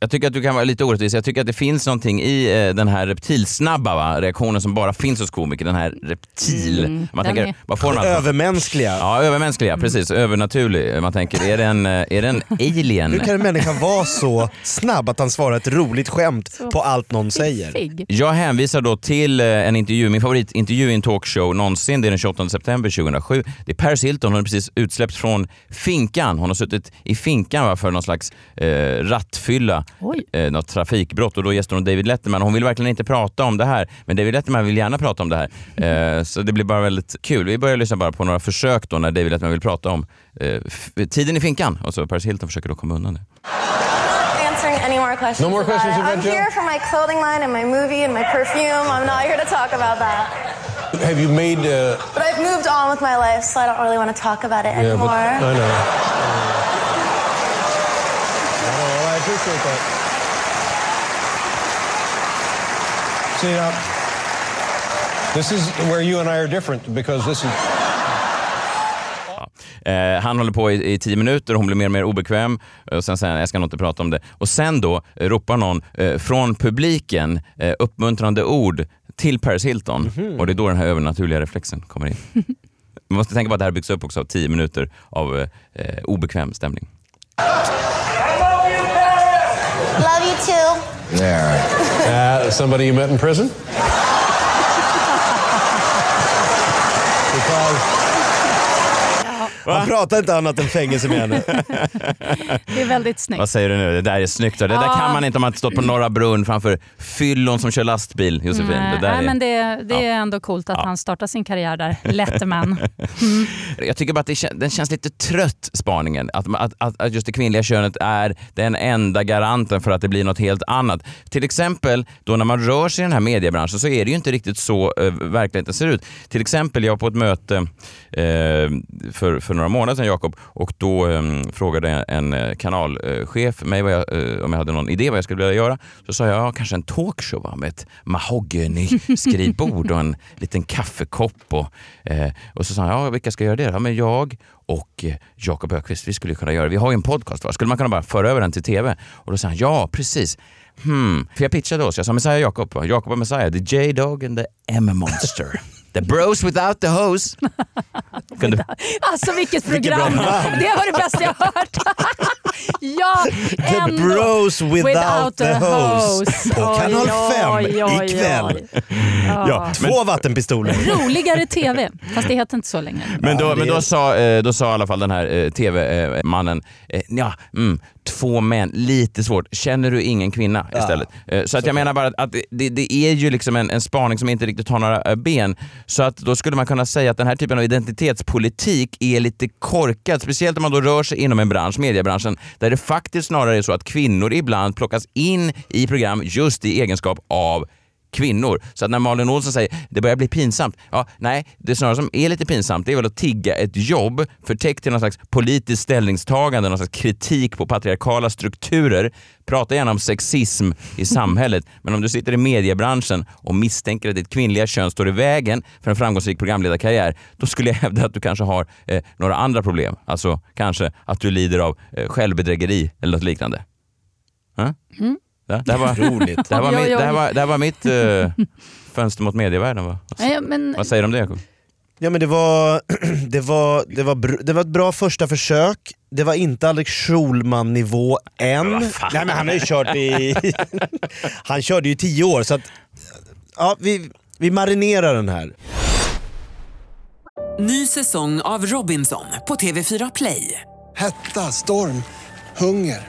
jag tycker att du kan vara lite orättvis. Jag tycker att det finns någonting i eh, den här reptilsnabba va? reaktionen som bara finns hos komiker. Den här reptil... Mm, man den tänker, är- vad får alltså. man? Övermänskliga. Ja, övermänskliga. Precis. Övernaturlig. Man tänker, är det en, är det en alien? Hur kan en människa vara så snabb att han svarar ett roligt skämt på allt någon säger? Jag hänvisar då till eh, en intervju, min favoritintervju i en talkshow någonsin. Det är den 28 september 2007. Det är Paris Hilton, hon är precis utsläppt från finkan. Hon har suttit i finkan va, för någon slags eh, rattfylla, eh, något trafikbrott och då gästar hon David Letterman. Hon vill verkligen inte prata om det här, men David Letterman vill gärna prata om det här. Eh, så det blir bara väldigt kul. Vi börjar lyssna bara på några försök då när David Letterman vill prata om eh, f- tiden i finkan och så Paris Hilton försöker då komma undan det. answering any more questions. No more about questions it. about I'm Jill? here for my clothing line and my movie and my perfume. I'm not here to talk about that. Have you made? Uh, But I've moved on with my life, so I don't really want to talk about it yeah, anymore. but I know. I know. Well, I appreciate that. See now, this is where you and I are different because this is. Eh, han håller på i, i tio minuter, hon blir mer och mer obekväm eh, och sen säger han jag ska nog inte prata om det. Och sen då eh, ropar någon eh, från publiken eh, uppmuntrande ord till Paris Hilton Mhm. och det är då den här övernaturliga reflexen kommer in. Man måste tänka på att det här byggs upp också av tio minuter av eh, eh, obekväm stämning. Love you too. Yeah. Uh, somebody you met in prison? Han pratar inte annat än fängelse med henne. Det är väldigt snyggt. Vad säger du nu? Det där är snyggt. va? Det där Ja. kan man inte om man inte stått på Norra Brunn framför fyllon som kör lastbil, Josefin. Nej, det där Eh, nej, är... men det, det är ändå coolt att han startar sin karriär där, Letterman. Jag tycker bara att det, kän- den känns lite trött, spaningen. Att, att, att, att just det kvinnliga könet är den enda garanten för att det blir något helt annat. Till exempel då när man rör sig i den här mediebranschen så är det ju inte riktigt så eh, verkligheten ser ut. Till exempel, jag var på ett möte eh, för, för några månader sedan, Jakob, och då eh, frågade en eh, kanalchef mig vad jag, eh, om jag hade någon idé vad jag skulle vilja göra. Så sa jag, ja, kanske en talkshow va, med ett mahogny-skrivbord och en liten kaffekopp. Och, eh, och så sa han, ja, vilka ska göra det? då?" Ja, men jag och eh, Jakob Ökvist, vi skulle ju kunna göra det. Vi har ju en podcast, va? skulle man kunna bara föra över den till TV? Och då sa han, ja precis. Hmm. För jag pitchade oss, jag sa Messiah Jakob, va? Jakob och Messiah, the J-Dog and the M-Monster. The bros without the hose. Kunde, Alltså vilket Vilket program! bra namn. det var det bästa jag hört. ja, The ändå. bros without, the hose. På Oj, kanal oj, 5 oj, oj. ikväll. Ja. Ja, Två vattenpistoler. Roligare TV, fast det heter inte så länge. Men då, men då, sa, eh, då sa i alla fall den här eh, tv-mannen, eh, ja, mm, två män, lite svårt. Känner du ingen kvinna istället? Eh, Så att jag menar bara att- att det, det är ju liksom en, en spaning som inte riktigt har några eh, ben. Så att då skulle man kunna säga att den här typen av identitetspolitik är lite korkad. Speciellt om man då rör sig inom en bransch, mediebranschen, där det faktiskt snarare är så att kvinnor ibland plockas in i program just i egenskap av kvinnor. Så att när Malin Olsson säger det börjar bli pinsamt. Ja, nej, det snarare som är lite pinsamt det är väl att tigga ett jobb förtäckt till någon slags politiskt ställningstagande, någon slags kritik på patriarkala strukturer. Prata gärna om sexism i samhället, men om du sitter i mediebranschen och misstänker att ditt kvinnliga kön står i vägen för en framgångsrik programledarkarriär, då skulle jag hävda att du kanske har eh, några andra problem. Alltså kanske att du lider av eh, självbedrägeri eller något liknande. Huh? Mm. Det, det, här var, Otroligt. det, här var Oj, oj, mitt, oj. det, här var, det här var mitt eh, fönster mot medievärlden. Va? Nej, men, Vad säger du om det Jakob? Ja men det var, det var, det var, br- det var ett bra första försök, det var inte Alex Schulman-nivå än. Nej men han har ju kört i... han körde ju i tio år så att... Ja, vi, vi marinerar den här. Ny säsong av Robinson på TV4 Play. Hetta, storm, hunger.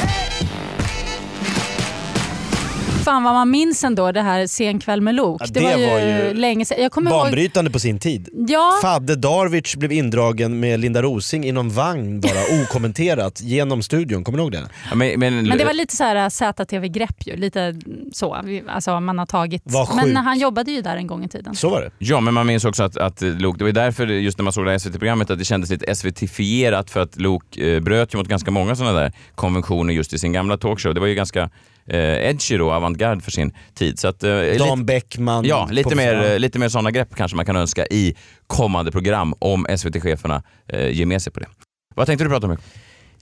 Fan vad man minns ändå det här Sen kväll med Lok. Ja, det, var ju, länge sedan. Jag kommer ihåg banbrytande på sin tid. Ja. Fadde Darwich blev indragen med Linda Rosing i någon vagn bara okommenterat genom studion. Kommer du ihåg det? men, Men det var lite så här äh, ZTV-grepp ju. Lite så. Vi- Alltså man har tagit. Vad sjukt. Men han jobbade ju där en gång i tiden. Så var det. Ja, men man minns också att, att Lok, det var ju därför just när man såg det här SVT-programmet att det kändes lite SVT-fierat för att Lok eh, bröt ju mot ganska många sådana där konventioner just i sin gamla talkshow. Det var ju ganska eh, edgy då, avantgarde för sin tid. Så att, eh, Dan lite- Bäckman. Ja, lite på- mer, eh, lite mer sådana grepp kanske man kan önska i kommande program om SVT-cheferna eh, ger med sig på det. Vad tänkte du prata om? Jakob?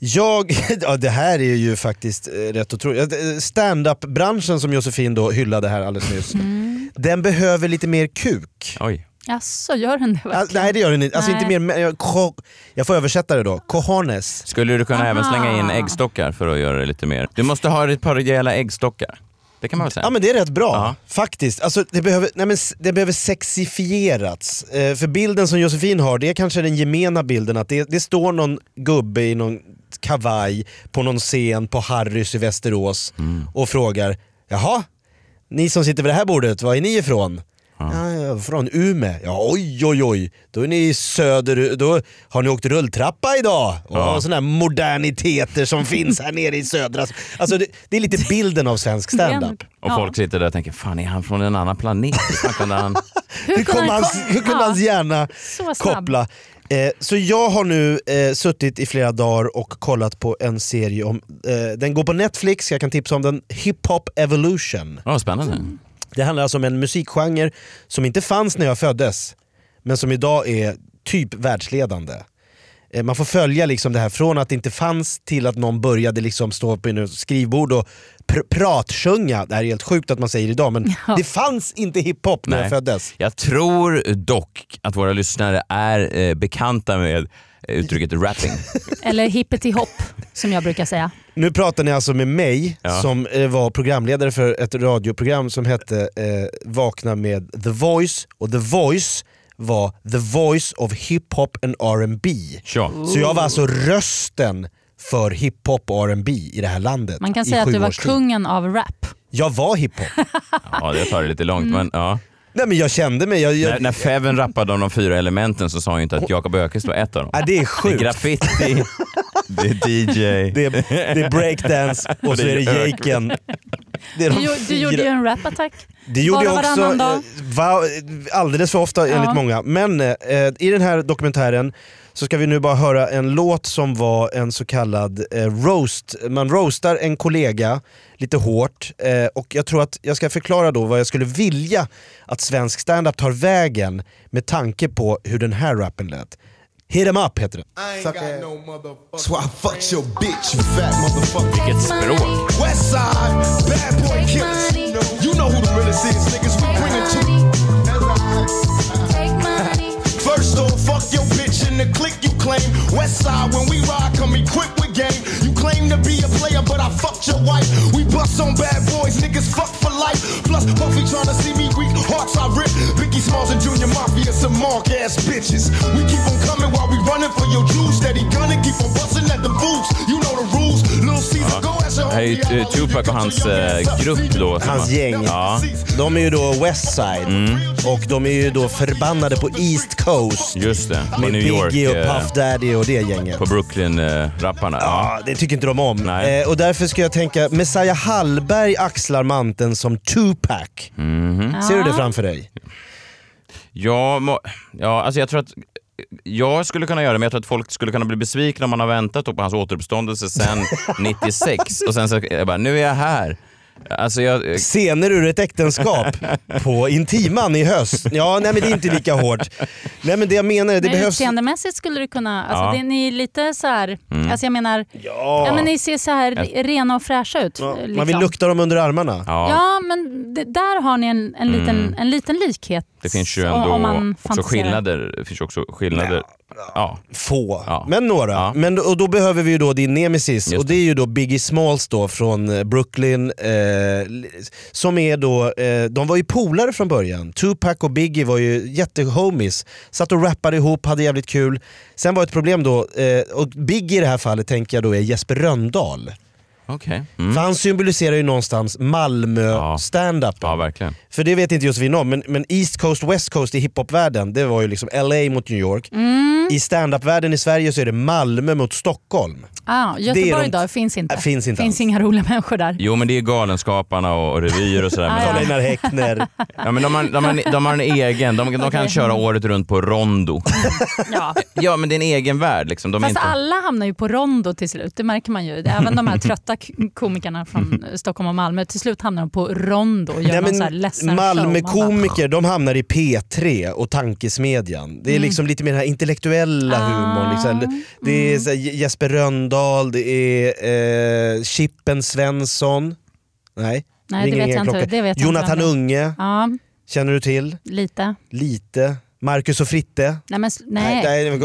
Jag, ja, det här är ju faktiskt eh, rätt otroligt. up branschen som Josefin då hyllade här alldeles nyss, Mm. den behöver lite mer kuk. Oj. Jaså, gör den det Alltså, nej det gör den inte. Alltså, Nej. inte mer, men jag, ko- jag får översätta det då. Cojones. Skulle du kunna Aha. även slänga in äggstockar för att göra det lite mer? Du måste ha ett par rejäla äggstockar. Det kan man väl säga? Ja men det är rätt bra faktiskt. Alltså, det, behöver, nej, men, s- det behöver sexifierats. Eh, för bilden som Josefin har, det är kanske den gemena bilden att det, det står någon gubbe i någon kavaj på någon scen på Harrys i Västerås och frågar Jaha, ni som sitter vid det här bordet, var är ni ifrån? Ja. Ja, från Umeå. Ja, oj oj oj, då är ni söder... Då har ni åkt rulltrappa idag? Ja. Och sådana här moderniteter som finns här nere i södra... Alltså det, det är lite bilden av svensk standup. Och folk sitter där och tänker, fan är han från en annan planet? Hur fan kunde han... Hur kunde hans, hur kunde hans hjärna Så snabb. koppla? Eh, så jag har nu eh, suttit i flera dagar och kollat på en serie om, eh, den går på Netflix, jag kan tipsa om den, Hip Hop Evolution. Ja, spännande. Det handlar alltså om en musikgenre som inte fanns när jag föddes, men som idag är typ världsledande. Eh, Man får följa liksom det här från att det inte fanns till att någon började liksom stå på en skrivbord och pr- pratsjunga. Det här är helt sjukt att man säger idag men det fanns inte hiphop när jag föddes. Jag tror dock att våra lyssnare är eh, bekanta med eh, uttrycket rapping. Eller hippety hopp som jag brukar säga. Nu pratar ni alltså med mig Ja. som eh, var programledare för ett radioprogram som hette eh, Vakna med The Voice och The Voice var The Voice of Hiphop and R&B. Så jag var alltså rösten för hiphop och R&B i det här landet Man kan i säga att sju du var års tid. kungen av rap. Jag var hiphop. ja, det tar det lite långt men ja. Nej men jag kände mig... Jag, När, när Feven rappade om de fyra elementen så sa han ju inte att Jakob Öqvist var ett av dem. Ja, det är sjukt. Det är graffiti, det är DJ. Det är, det är breakdance och så är det jeiken. Det är de Du, gjo- du gjorde ju fyra- en rap-attack. Det gjorde Bara jag också varannan dag. eh, va, alldeles för ofta enligt Ja. många. Men eh, i den här dokumentären så ska vi nu bara höra en låt som var en så kallad eh, roast. Man roastar en kollega lite hårt eh, och jag tror att jag ska förklara då vad jag skulle vilja att svensk standup tar vägen med tanke på hur den här rappen lät. Hit 'em up heter den. I ain't got no motherfucker. So I fucked your bitch, you fat motherfucker. Vilket språk. West side, bad boy killers. You know who the realest is, niggas. We bring it to you. eh, First off, fuck your bitch in the click you claim. West side, when we ride, come equipped with game. You claim to be a player, but I fucked your wife. We bust on bad boys, niggas fuck for life. Plus, Puffy tryna see me weak, hearts I rip. Biggie Smalls and Junior Mafia, some mark ass bitches. We keep on coming while we running for your juice. Steady gunning, keep on busting at the boots. You know the rules. Little Caesar, go as your Det här är ju eh, Uh-huh. Tupac och hans eh, grupp då. som Hans har- gäng. Ja. De är ju då Westside Mm. och de är ju då förbannade på East Coast. Just det, på Med New York. Biggie och eh, Puff Daddy och det gänget. På Brooklyn-rapparna. Ja, det tycker inte de om. Eh, och därför ska jag tänka, Messiah Hallberg axlar manteln som Tupac. Mhm. Ser du det framför dig? Ja, må, ja alltså jag tror att jag skulle kunna göra det, men jag tror att folk skulle kunna bli besvikna om man har väntat då på hans återuppståndelse sen 96 och sen så, jag bara, nu är jag här. Alltså jag, Scener ur ett äktenskap på Intiman i höst. Ja, nej men det är inte lika hårt. Nej men det jag menar är, det Men behövs... utseendemässigt skulle du kunna... Alltså, Ja. det, ni är lite så här... Mm. Alltså jag menar... Ja. men ni ser så här Jag- rena och fräscha ut. eh, liksom. Man vill lukta dem under armarna. Ja, men det, där har ni en, en, liten, Mm. en liten likhet. det finns ju om- ändå om man också fantiserar. skillnader. Det finns ju också skillnader. Ja. Få, men några. Men, då- och då behöver vi ju då din nemesis och det är ju då Biggie Smalls då från eh, Brooklyn. Eh, li- som är då, eh, de var ju polare från början. Tupac och Biggie var ju jättehomies. Satt och rappade ihop, hade jävligt kul. Sen var ett problem då, eh, och Biggie i det här fallet tänker jag då är Jesper Röndahl. Okej. Mm. För han symboliserar ju någonstans Malmö standup. Ja, verkligen. För det vet inte Josefin om, men, men East Coast West Coast i hiphopvärlden, det var ju liksom LA mot New York. Mm. I standupvärlden i Sverige så är det Malmö mot Stockholm. Ah, är Göteborg de- då? Finns inte. Äh, finns inte finns inga roliga människor där. Jo, men det är Galenskaparna och, och revyer och sådär. Ah, ja. Carl-Einar Häckner. Ja, men de, har, de, har, de har en egen. De, de kan köra året runt på rondo. Ja. Ja, men det är en egen värld. Liksom. De är Fast inte... alla hamnar ju på rondo till slut, det märker man ju. Även de här trötta k- komikerna från eh, Stockholm och Malmö, till slut hamnar de på rondo och gör någon så här ledsen show. Man bara, Malmökomiker de hamnar i P3 och Tankesmedjan. Det är Mm. Ah. liksom lite mer den här intellektuella humorn. Liksom. Det är så här Je- Jesper Rönndahl, det är eh, Chippen Svensson. Nej, Nej, ringer det vet ingen jag inte. klocka. Det vet jag Jonathan inte vem det är. Unge Ja, känner du till. lite. Lite. Marcus och Fritte. Nej, men, s- nej. nej.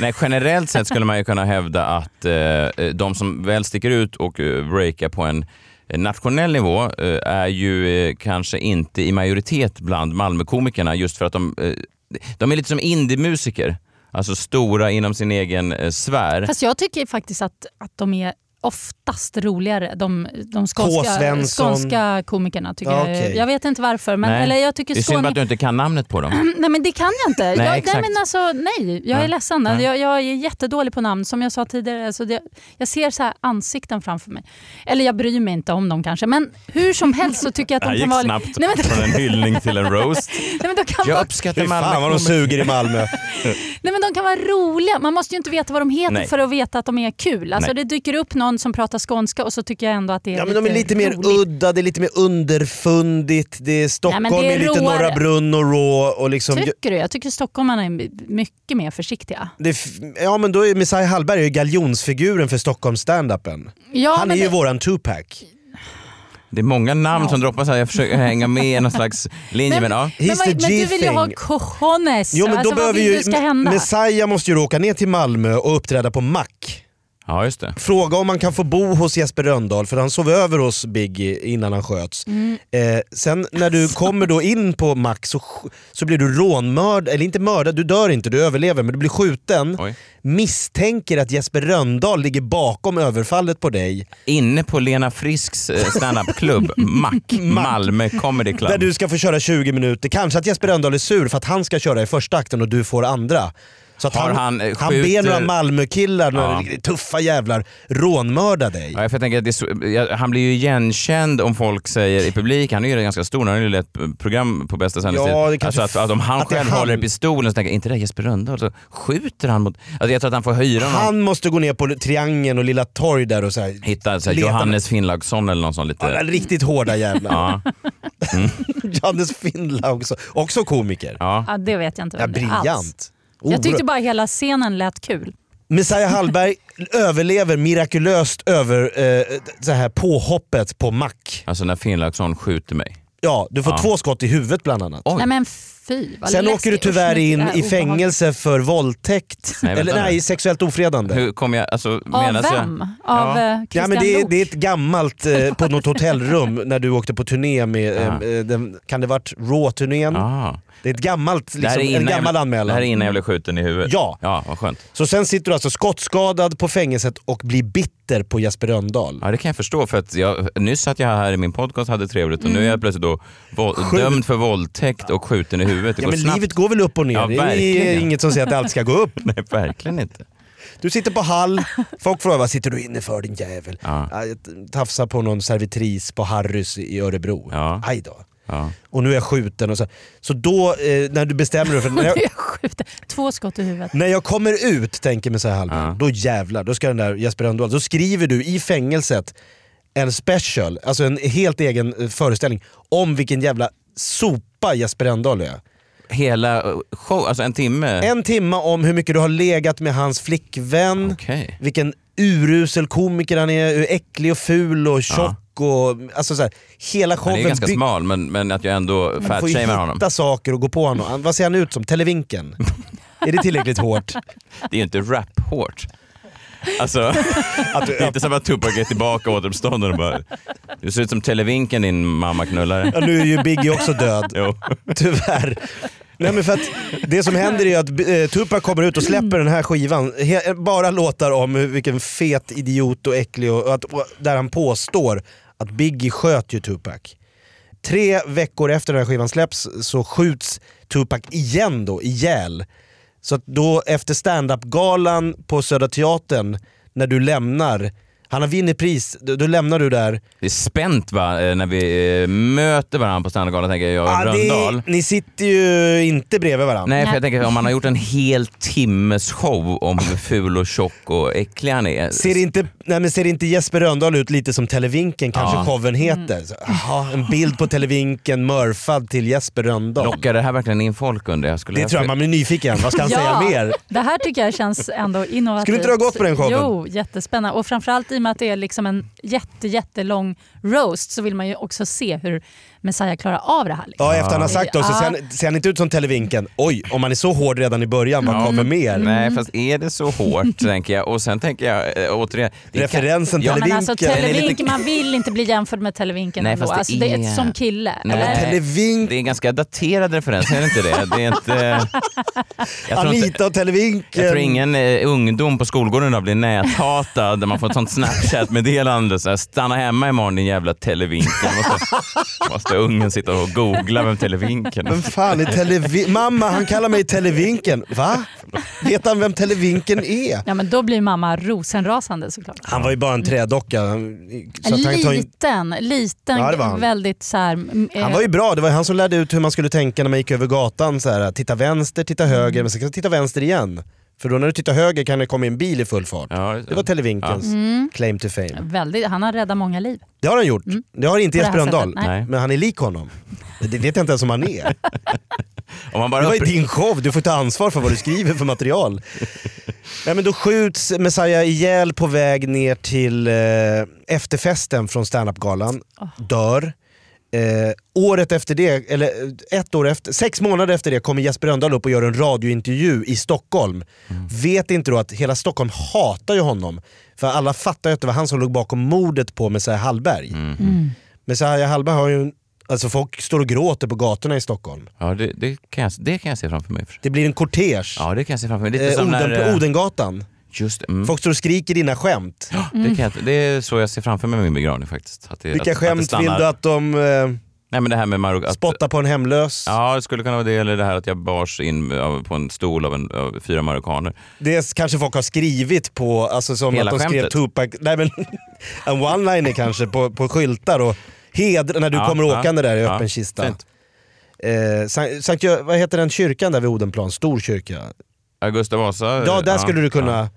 Nej, generellt sett skulle man ju kunna hävda att eh, de som väl sticker ut och eh, breakar på en eh, nationell nivå eh, är ju eh, kanske inte i majoritet bland Malmökomikerna just för att de, eh, de är lite som indiemusiker. Alltså stora inom sin egen eh, sfär. Fast jag tycker faktiskt att, att de är oftast roligare, de, de K. skånska, Svensson. skånska komikerna. Tycker Ja, jag. okej. jag vet inte varför, men Nej. eller jag tycker det är synd Skåne... att du inte kan namnet på dem. Nej men det kan jag inte. Nej, jag, exakt. men alltså, nej, jag är Nej. ledsen. Alltså, Nej. Jag, jag är jättedålig på namn. Som jag sa tidigare, alltså det, jag ser så här ansikten framför mig. Eller jag bryr mig inte om dem kanske, men hur som helst så tycker jag att de kan vara... Nej, men, till en roast. nej, men de kan vara... Fy fan vad de suger i Malmö. Nej, men de kan vara roliga. Man måste ju inte veta vad de heter Nej. för att veta att de är kul. Alltså, Nej. det dyker upp någon som pratar skånska och så tycker jag ändå att det är Ja, men de är lite mer udda, det är lite mer underfundigt, det är Stockholm det är är, lite råare. Norra Brunn och rå. Och liksom, Tycker du? Jag tycker stockholmarna är mycket mer försiktiga. Det är f- ja men då är Messiah Hallberg är ju galjonsfiguren för Stockholms standupen. Ja, Han är men ju det- våran Tupac. Det är många namn som droppas här. Jag försöker hänga med i någon slags linje. Men, ja. Men, vad, men du vill ju ha cojones. Jo men då alltså, vad behöver vill ju, du ska hända? Messiah måste ju då åka ner till Malmö och uppträda på Mac. Ja, just det. Fråga om man kan få bo hos Jesper Rönndahl för han sov över hos Biggie innan han sköts. Mm. Eh, sen när du kommer då in på Mac så, sk- så blir du rånmördad, eller inte mördad, du dör inte, du överlever men du blir skjuten. Misstänker att Jesper Rönndahl ligger bakom överfallet på dig. Inne på Lena Frisks eh, standupklubb Mac, Malmö Comedy Club. Där du ska få köra 20 minuter. Kanske att Jesper Rönndahl är sur för att han ska köra i första akten och du får andra. Så att Har han, han, eh, han skjuter- ber några Malmökillar, några Ja. tuffa jävlar, rånmörda dig. Ja, för jag tänker att det är så, ja, han blir ju igenkänd om folk säger i publiken, han är ju redan ganska stor, han har ju lett eh, program på bästa sändningstid. Ja, det kanske- alltså att, att om han att det är själv han. håller i pistolen så tänker jag, inte det där Jesper Rönndahl, så skjuter han mot... Alltså jag tror att han får hyra någon. Han måste gå ner på Triangeln och Lilla Torg där och så här, Hitta så här, Leta- Johannes Finnlaugsson eller någon sån lite... Ja, riktigt hårda jävlar. Ja. Mm. Johannes Finnlaug också, också komiker. Ja, det vet jag inte Ja, vem det är alls. briljant. Jag tyckte Oerhört. bara hela scenen lät kul. Messiah Hallberg överlever mirakulöst över eh, så här påhoppet på Mac. Alltså när Finnlaugsson skjuter mig. Ja, du får Ja. två skott i huvudet bland annat. Nej men fy vad Sen läskigt. åker du Usch, nu tyvärr tycker in jag det i här är obehagligt. fängelse för våldtäkt, Nej, vänta eller nu. nej, sexuellt ofredande. Hur kom jag... Alltså, menas vem? Jag? Av, eh, Christian ja, men det, är, Lok? det är ett gammalt, eh, på något hotellrum när du åkte på turné med, eh, eh, den, kan det varit Raw-turnén? Det är ett gammalt, Ah. Det här liksom, är en innan jag gammal blev- anmälan. Det här är innan jag blev skjuten i huvudet? Ja. Ja, vad skönt. Så sen sitter du alltså skottskadad på fängelset och blir bitter på Jesper Rönndahl. Ja, det kan jag förstå. För att jag, nyss satt jag här i min podcast och hade trevligt och Mm. nu är jag plötsligt då våld, Skjut. dömd för våldtäkt och skjuten i huvudet. Det Ja, går men snabbt. livet går väl upp och ner? Ja, det är verkligen. inget som säger att allt ska gå upp. Nej, verkligen inte. Du sitter på Hall, folk frågar vad sitter du inne för din jävel? Ja. Jag tafsar på någon servitris på Harrys i Örebro. Aj då. Och nu är jag skjuten. Och så. så då, eh, när du bestämmer dig för... När jag, Två skott i huvudet. när jag kommer ut, tänker Messiah Hallberg, då jävlar, då ska den där Jesper Rönndahl, då skriver du i fängelset en special, alltså en helt egen eh, föreställning om vilken jävla sopa Jesper Rönndahl är. Hela eh, show, alltså en timme? En timme om hur mycket du har legat med hans flickvän, vilken urusel komiker han är, hur äcklig och ful och tjock och... Alltså så här, hela Han showen är ju ganska bygg- smal men, men att jag ändå Man får ju fatshamar honom. hitta saker och gå på honom. Han- Vad ser han ut som? Televinken? är det tillräckligt hårt? Det är ju inte rap-hårt. Alltså, det är inte som att Tupac är tillbaka återuppstånden och bara Du ser ut som Televinken din mamma knullare. Ja, nu är ju Biggie också död. Jo. Tyvärr. Nej, men för att det som händer är att eh, Tupac kommer ut och släpper den här skivan. He- bara låtar om hur- vilken fet idiot och äcklig och, och att, och, där han påstår att Biggie sköt ju Tupac. Tre veckor efter den här skivan släpps så skjuts Tupac igen då, ihjäl. Så att då efter standup-galan på Södra Teatern, när du lämnar, han har vunnit pris, då, då lämnar du där. Det är spänt va, eh, när vi eh, möter varandra på standardgalan, tänker jag, och Ah, Rönndahl. det, ni sitter ju inte bredvid varandra. Nej, för jag tänker om man har gjort en hel timmes show om hur ful och tjock och äcklig han är. Ser inte, nej men ser inte Jesper Rönndahl ut lite som Televinken kanske Ja. showen heter? Så, aha, en bild på Televinken mörfad till Jesper Rönndahl. Lockar det här verkligen in folk under? Jag skulle Det tror jag, man blir nyfiken. Vad ska han säga mer? Det här tycker jag känns ändå innovativt. Skulle inte du ha gått på den showen? Jo, jättespännande. Och framförallt i och med att det är liksom en jätte, jättelång roast så vill man ju också se hur Messiah klarar av det här. Liksom. Ja, efter han har sagt då så Ja. ser han, ser han inte ut som Televinken. Oj, om man är så hård redan i början, vad kommer mer? Nej, Mm. fast är det så hårt tänker jag. Och sen tänker jag eh, återigen... det kan- Referensen Ja, men alltså, Den är lite- televinken, man vill inte bli jämförd med Televinken Nej, ändå. fast det alltså, det är... är- som kille. Nej, eller? Televink. Det är en ganska daterad referens, är det inte det? det är inte... Jag tror inte- Anita och Televinken. Jag tror ingen eh, ungdom på skolgården idag blir näthatad där man får ett sånt Snapchat-meddelande. Så här, Stanna hemma imorgon din jävla televinken. Måste, måste ungen sitta och googla vem televinken Men fan, är televi- mamma han kallar mig Televinken. Va? Vet han vem Televinken är? Ja, men då blir mamma rosenrasande såklart. Han var ju Mm. bara en trädocka. han- Så att han, tar in- Liten, liten, Ja, det var han. väldigt så här, mm, han eh, var ju bra, det var ju han som lärde ut hur man skulle tänka när man gick över gatan. Så här, titta vänster, titta Mm. höger, men sen kan du titta vänster igen. För då när du tittar höger kan det komma en bil i full fart. det var Televinkens Ja. Mm. claim to fame. väldigt, han har räddat många liv. Det har han gjort. Det har inte På det Jesper här sättet, Rönndahl, nej. men han är lik honom. Det vet jag inte ens om han är. Om man bara det var ju uppre- din show, du får ta ansvar för vad du skriver för material. Nej, men då skjuts Messiah ihjäl på väg ner till eh, efterfesten från standup-galan. Dör. Eh, året efter det, eller eh, ett år efter, sex månader efter det kommer Jesper Rönndahl upp och gör en radiointervju i Stockholm. Vet inte då att hela Stockholm hatar ju honom. För alla fattar ju att det var han som låg bakom mordet på Messiah Hallberg. Messiah Hallberg har ju, en- alltså folk står och gråter på gatorna i Stockholm. Ja, det, det, kan jag, det kan jag se framför mig. Det blir en kortege. Ja, det kan jag se framför mig. Lite Eh, som Oden, när, eh, Odengatan. Just det, Mm. Folk står och skriker dina skämt. Det, kan jag, det är så jag ser framför mig min begravning faktiskt. Att det, Vilka att, skämt att det stannar- vill du att de eh, Nej, men det här med Margot, att, spottar på en hemlös? Ja, det skulle kunna vara det. Eller det här att jag bars in av- på en stol av, en, av fyra marockaner. Det kanske folk har skrivit på, alltså som Hela att de skrev skämtet. Tupac, nej men en one-liner kanske på, på skyltar och hedra när du Ja, kommer ja, åkande där i ja, öppen kista. fint. Eh, Sankt, Sankt, Gö- vad heter den kyrkan där vid Odenplan? Stor Eh, kyrka. Ja, Gustav Vasa. Ja, där skulle du kunna...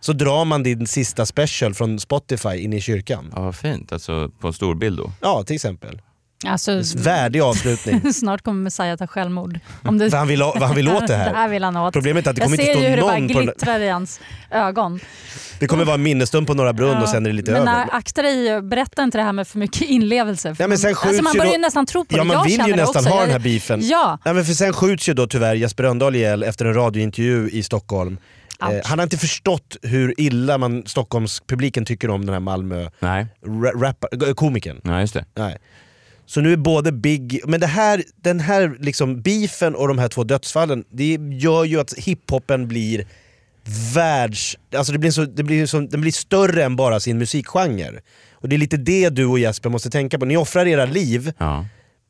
Så drar man din sista special från Spotify in i kyrkan. Ja, vad fint. Alltså på en stor bild då. Ja, till exempel. Alltså, Värdig avslutning. snart kommer Messiah ta självmord. Om det- Vad han vill ha- vad han vill åt det här. Det här vill han åt. Problemet är att det kommer jag inte ser stå ju hur någon på det bara den- glittrar i hans ögon. Det kommer vara en minnesstund på Norra Brunn och sen är det lite men äh, över. nej, akta dig, eh, berätta inte det här med för mycket inlevelse. För Nej, men sen man- skjuts alltså, man ju börjar då- ju nästan tro på Ja, det. man jag vill känner ju det nästan också. ha Jag- den här beefen. Ja. Nej, men för sen skjuts ju då tyvärr Jesper Rönndahl ihjäl efter en radiointervju i Stockholm. Eh, Ouch. han har inte förstått hur illa man, Stockholmspubliken tycker om den här Malmö Nej. ra- rappa- äh, komikern. Nej, just det. Nej. Så nu är både Big... Men det här, den här liksom beefen och de här två dödsfallen, det gör ju att hiphopen blir världs... Alltså det blir så, det blir så, den blir större än bara sin musikgenre. Och det är lite det du och Jesper måste tänka på. Ni offrar era liv,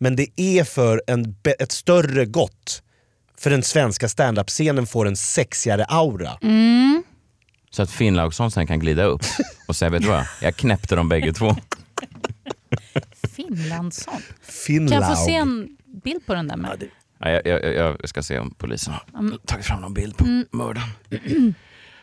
men det är för en, be- ett större gott. För den svenska standup-scenen får en sexigare aura. Mm. Så att Finn Laugsson sen kan glida upp och säga, vet du vad? Jag knäppte dem bägge två. Finlandsson. Kan Finlaug. jag få se en bild på den där? Med? Ja, jag, jag, jag ska se om polisen har Mm. tagit fram någon bild på Mm. mördaren.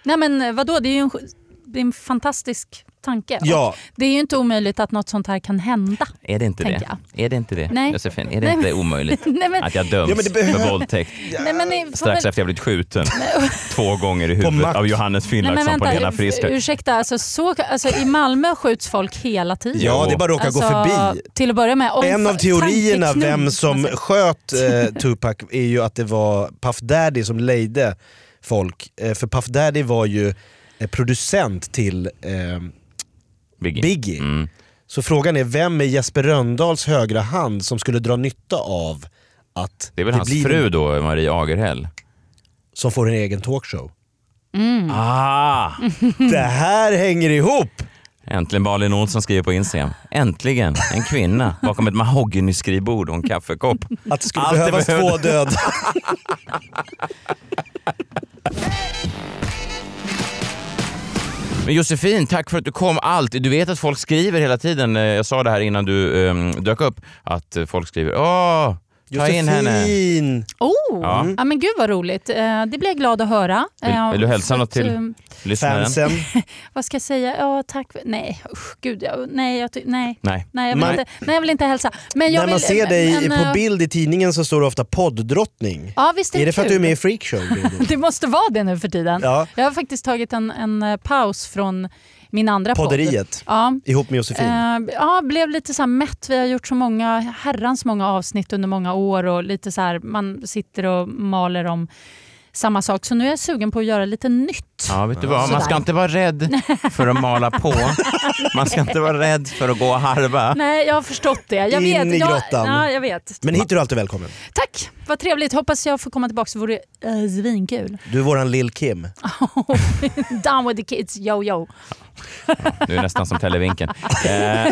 Nej men eh, vadå, det är ju en, sj- det är en fantastisk tanke. Ja. Och Det är ju inte omöjligt att något sånt här kan hända. Är det inte Tänker det? Är det inte det? Nej. Josefin, är det Nej, inte men- omöjligt Nej, men- att jag döms Ja, men det behöver- för våldtäkt Nej, men ni får strax väl- efter jag blivit skjuten två gånger i huvudet Max. av Johannes Finnlaugsson på Lena ur- Frisk? ursäkta. Alltså, så, alltså, I Malmö skjuts folk hela tiden. Ja, det är bara att råka gå Alltså, förbi. Till att börja med. om- Alltså- en av teorierna tankeknut, vem man som säger. sköt eh, Tupac är ju att det var Puff Daddy som lejde folk. Eh, för Puff Daddy var ju eh, producent till eh, Biggie. Mm. Så frågan är, vem är Jesper Rönndahls högra hand som skulle dra nytta av att... Det är väl hans blir- fru då, Marie Mm. Agerhäll? Som får en egen talkshow. Ah! Mm. Hmm. Det här hänger ihop! Äntligen Malin Olsson skriver på Instagram. Äntligen en kvinna bakom ett mahognyskrivbord och en kaffekopp. Att det skulle Allt behövas behövde- två döda. Men Josefin, tack för att du kom. Allt. Du vet att folk skriver hela tiden. eh, Jag sa det här innan du ehm, dök upp. Att eh, folk skriver Åh, ta in henne. Josefin! Oh, Ja. ja. men gud vad roligt. Eh, Det blir jag glad att höra. Vill, Eh, vill du hälsa så något att, eh, till lyssnaren? Vad ska jag säga? Ja, tack. för- Nej, usch, gud. Jag, nej, jag, ty- nej. Nej. Nej, jag vill, Nej. Inte, nej, jag vill inte hälsa. Men jag När man vill, ser dig men, eh, på bild i tidningen så står det ofta poddrottning. Ja, visst är är det det för att kul? du är med i freakshow? Gudrun? Det måste vara det nu för tiden. Ja. Jag har faktiskt tagit en, en eh, paus från min andra Podderiet. podd. Ja. Ihop med Josefin. Eh, ja, blev lite så här mätt. Vi har gjort så många, herrans många avsnitt under många år och lite så här, man sitter och maler om samma sak. Så nu är jag sugen på att göra lite nytt. Ja, vet du vad? Man Sådär. ska inte vara rädd för att mala på. Man ska inte vara rädd för att gå och harva. Nej, jag har förstått det. Jag In vet. i grottan. Jag, ja, jag vet. Men hit är du alltid välkommen. Tack, vad trevligt. Hoppas jag får komma tillbaka så vore det eh, svinkul. Du är våran Lil Kim. Down with the kids, yo yo. Du är nästan som Televinken. Eh, Ja,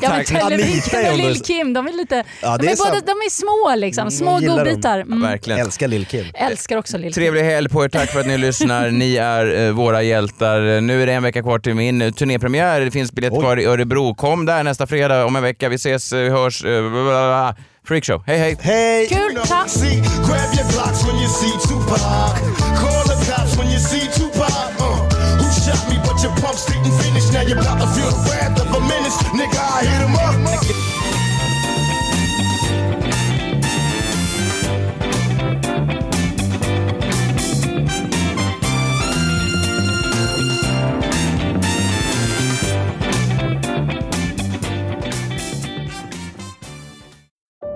men tack. Anita Televinken är och under- Lill-Kim, de är lite... Ja, det de, är är sant. båda, de är små liksom, små Jag gillar dem. godbitar. Mm. Ja, verkligen. Älskar Lill-Kim. Älskar också Lill-Kim. Trevlig helg på er, tack för att ni lyssnar. Ni är eh, våra hjältar. Eh, Nu är det en vecka kvar till min eh, turnépremiär. Det finns biljett kvar i Örebro. Kom där nästa fredag om en vecka. Vi ses, eh, vi hörs. eh, bla, bla, bla. Freakshow. Hej hej! Hej! Kul, tack! See, grab your blocks when you see Tupac. Call the cops when you see Tupac. Uh, who shot me? But your pumps didn't finish. Now you're about to feel the wrath of a menace. Nigga, I hit him up.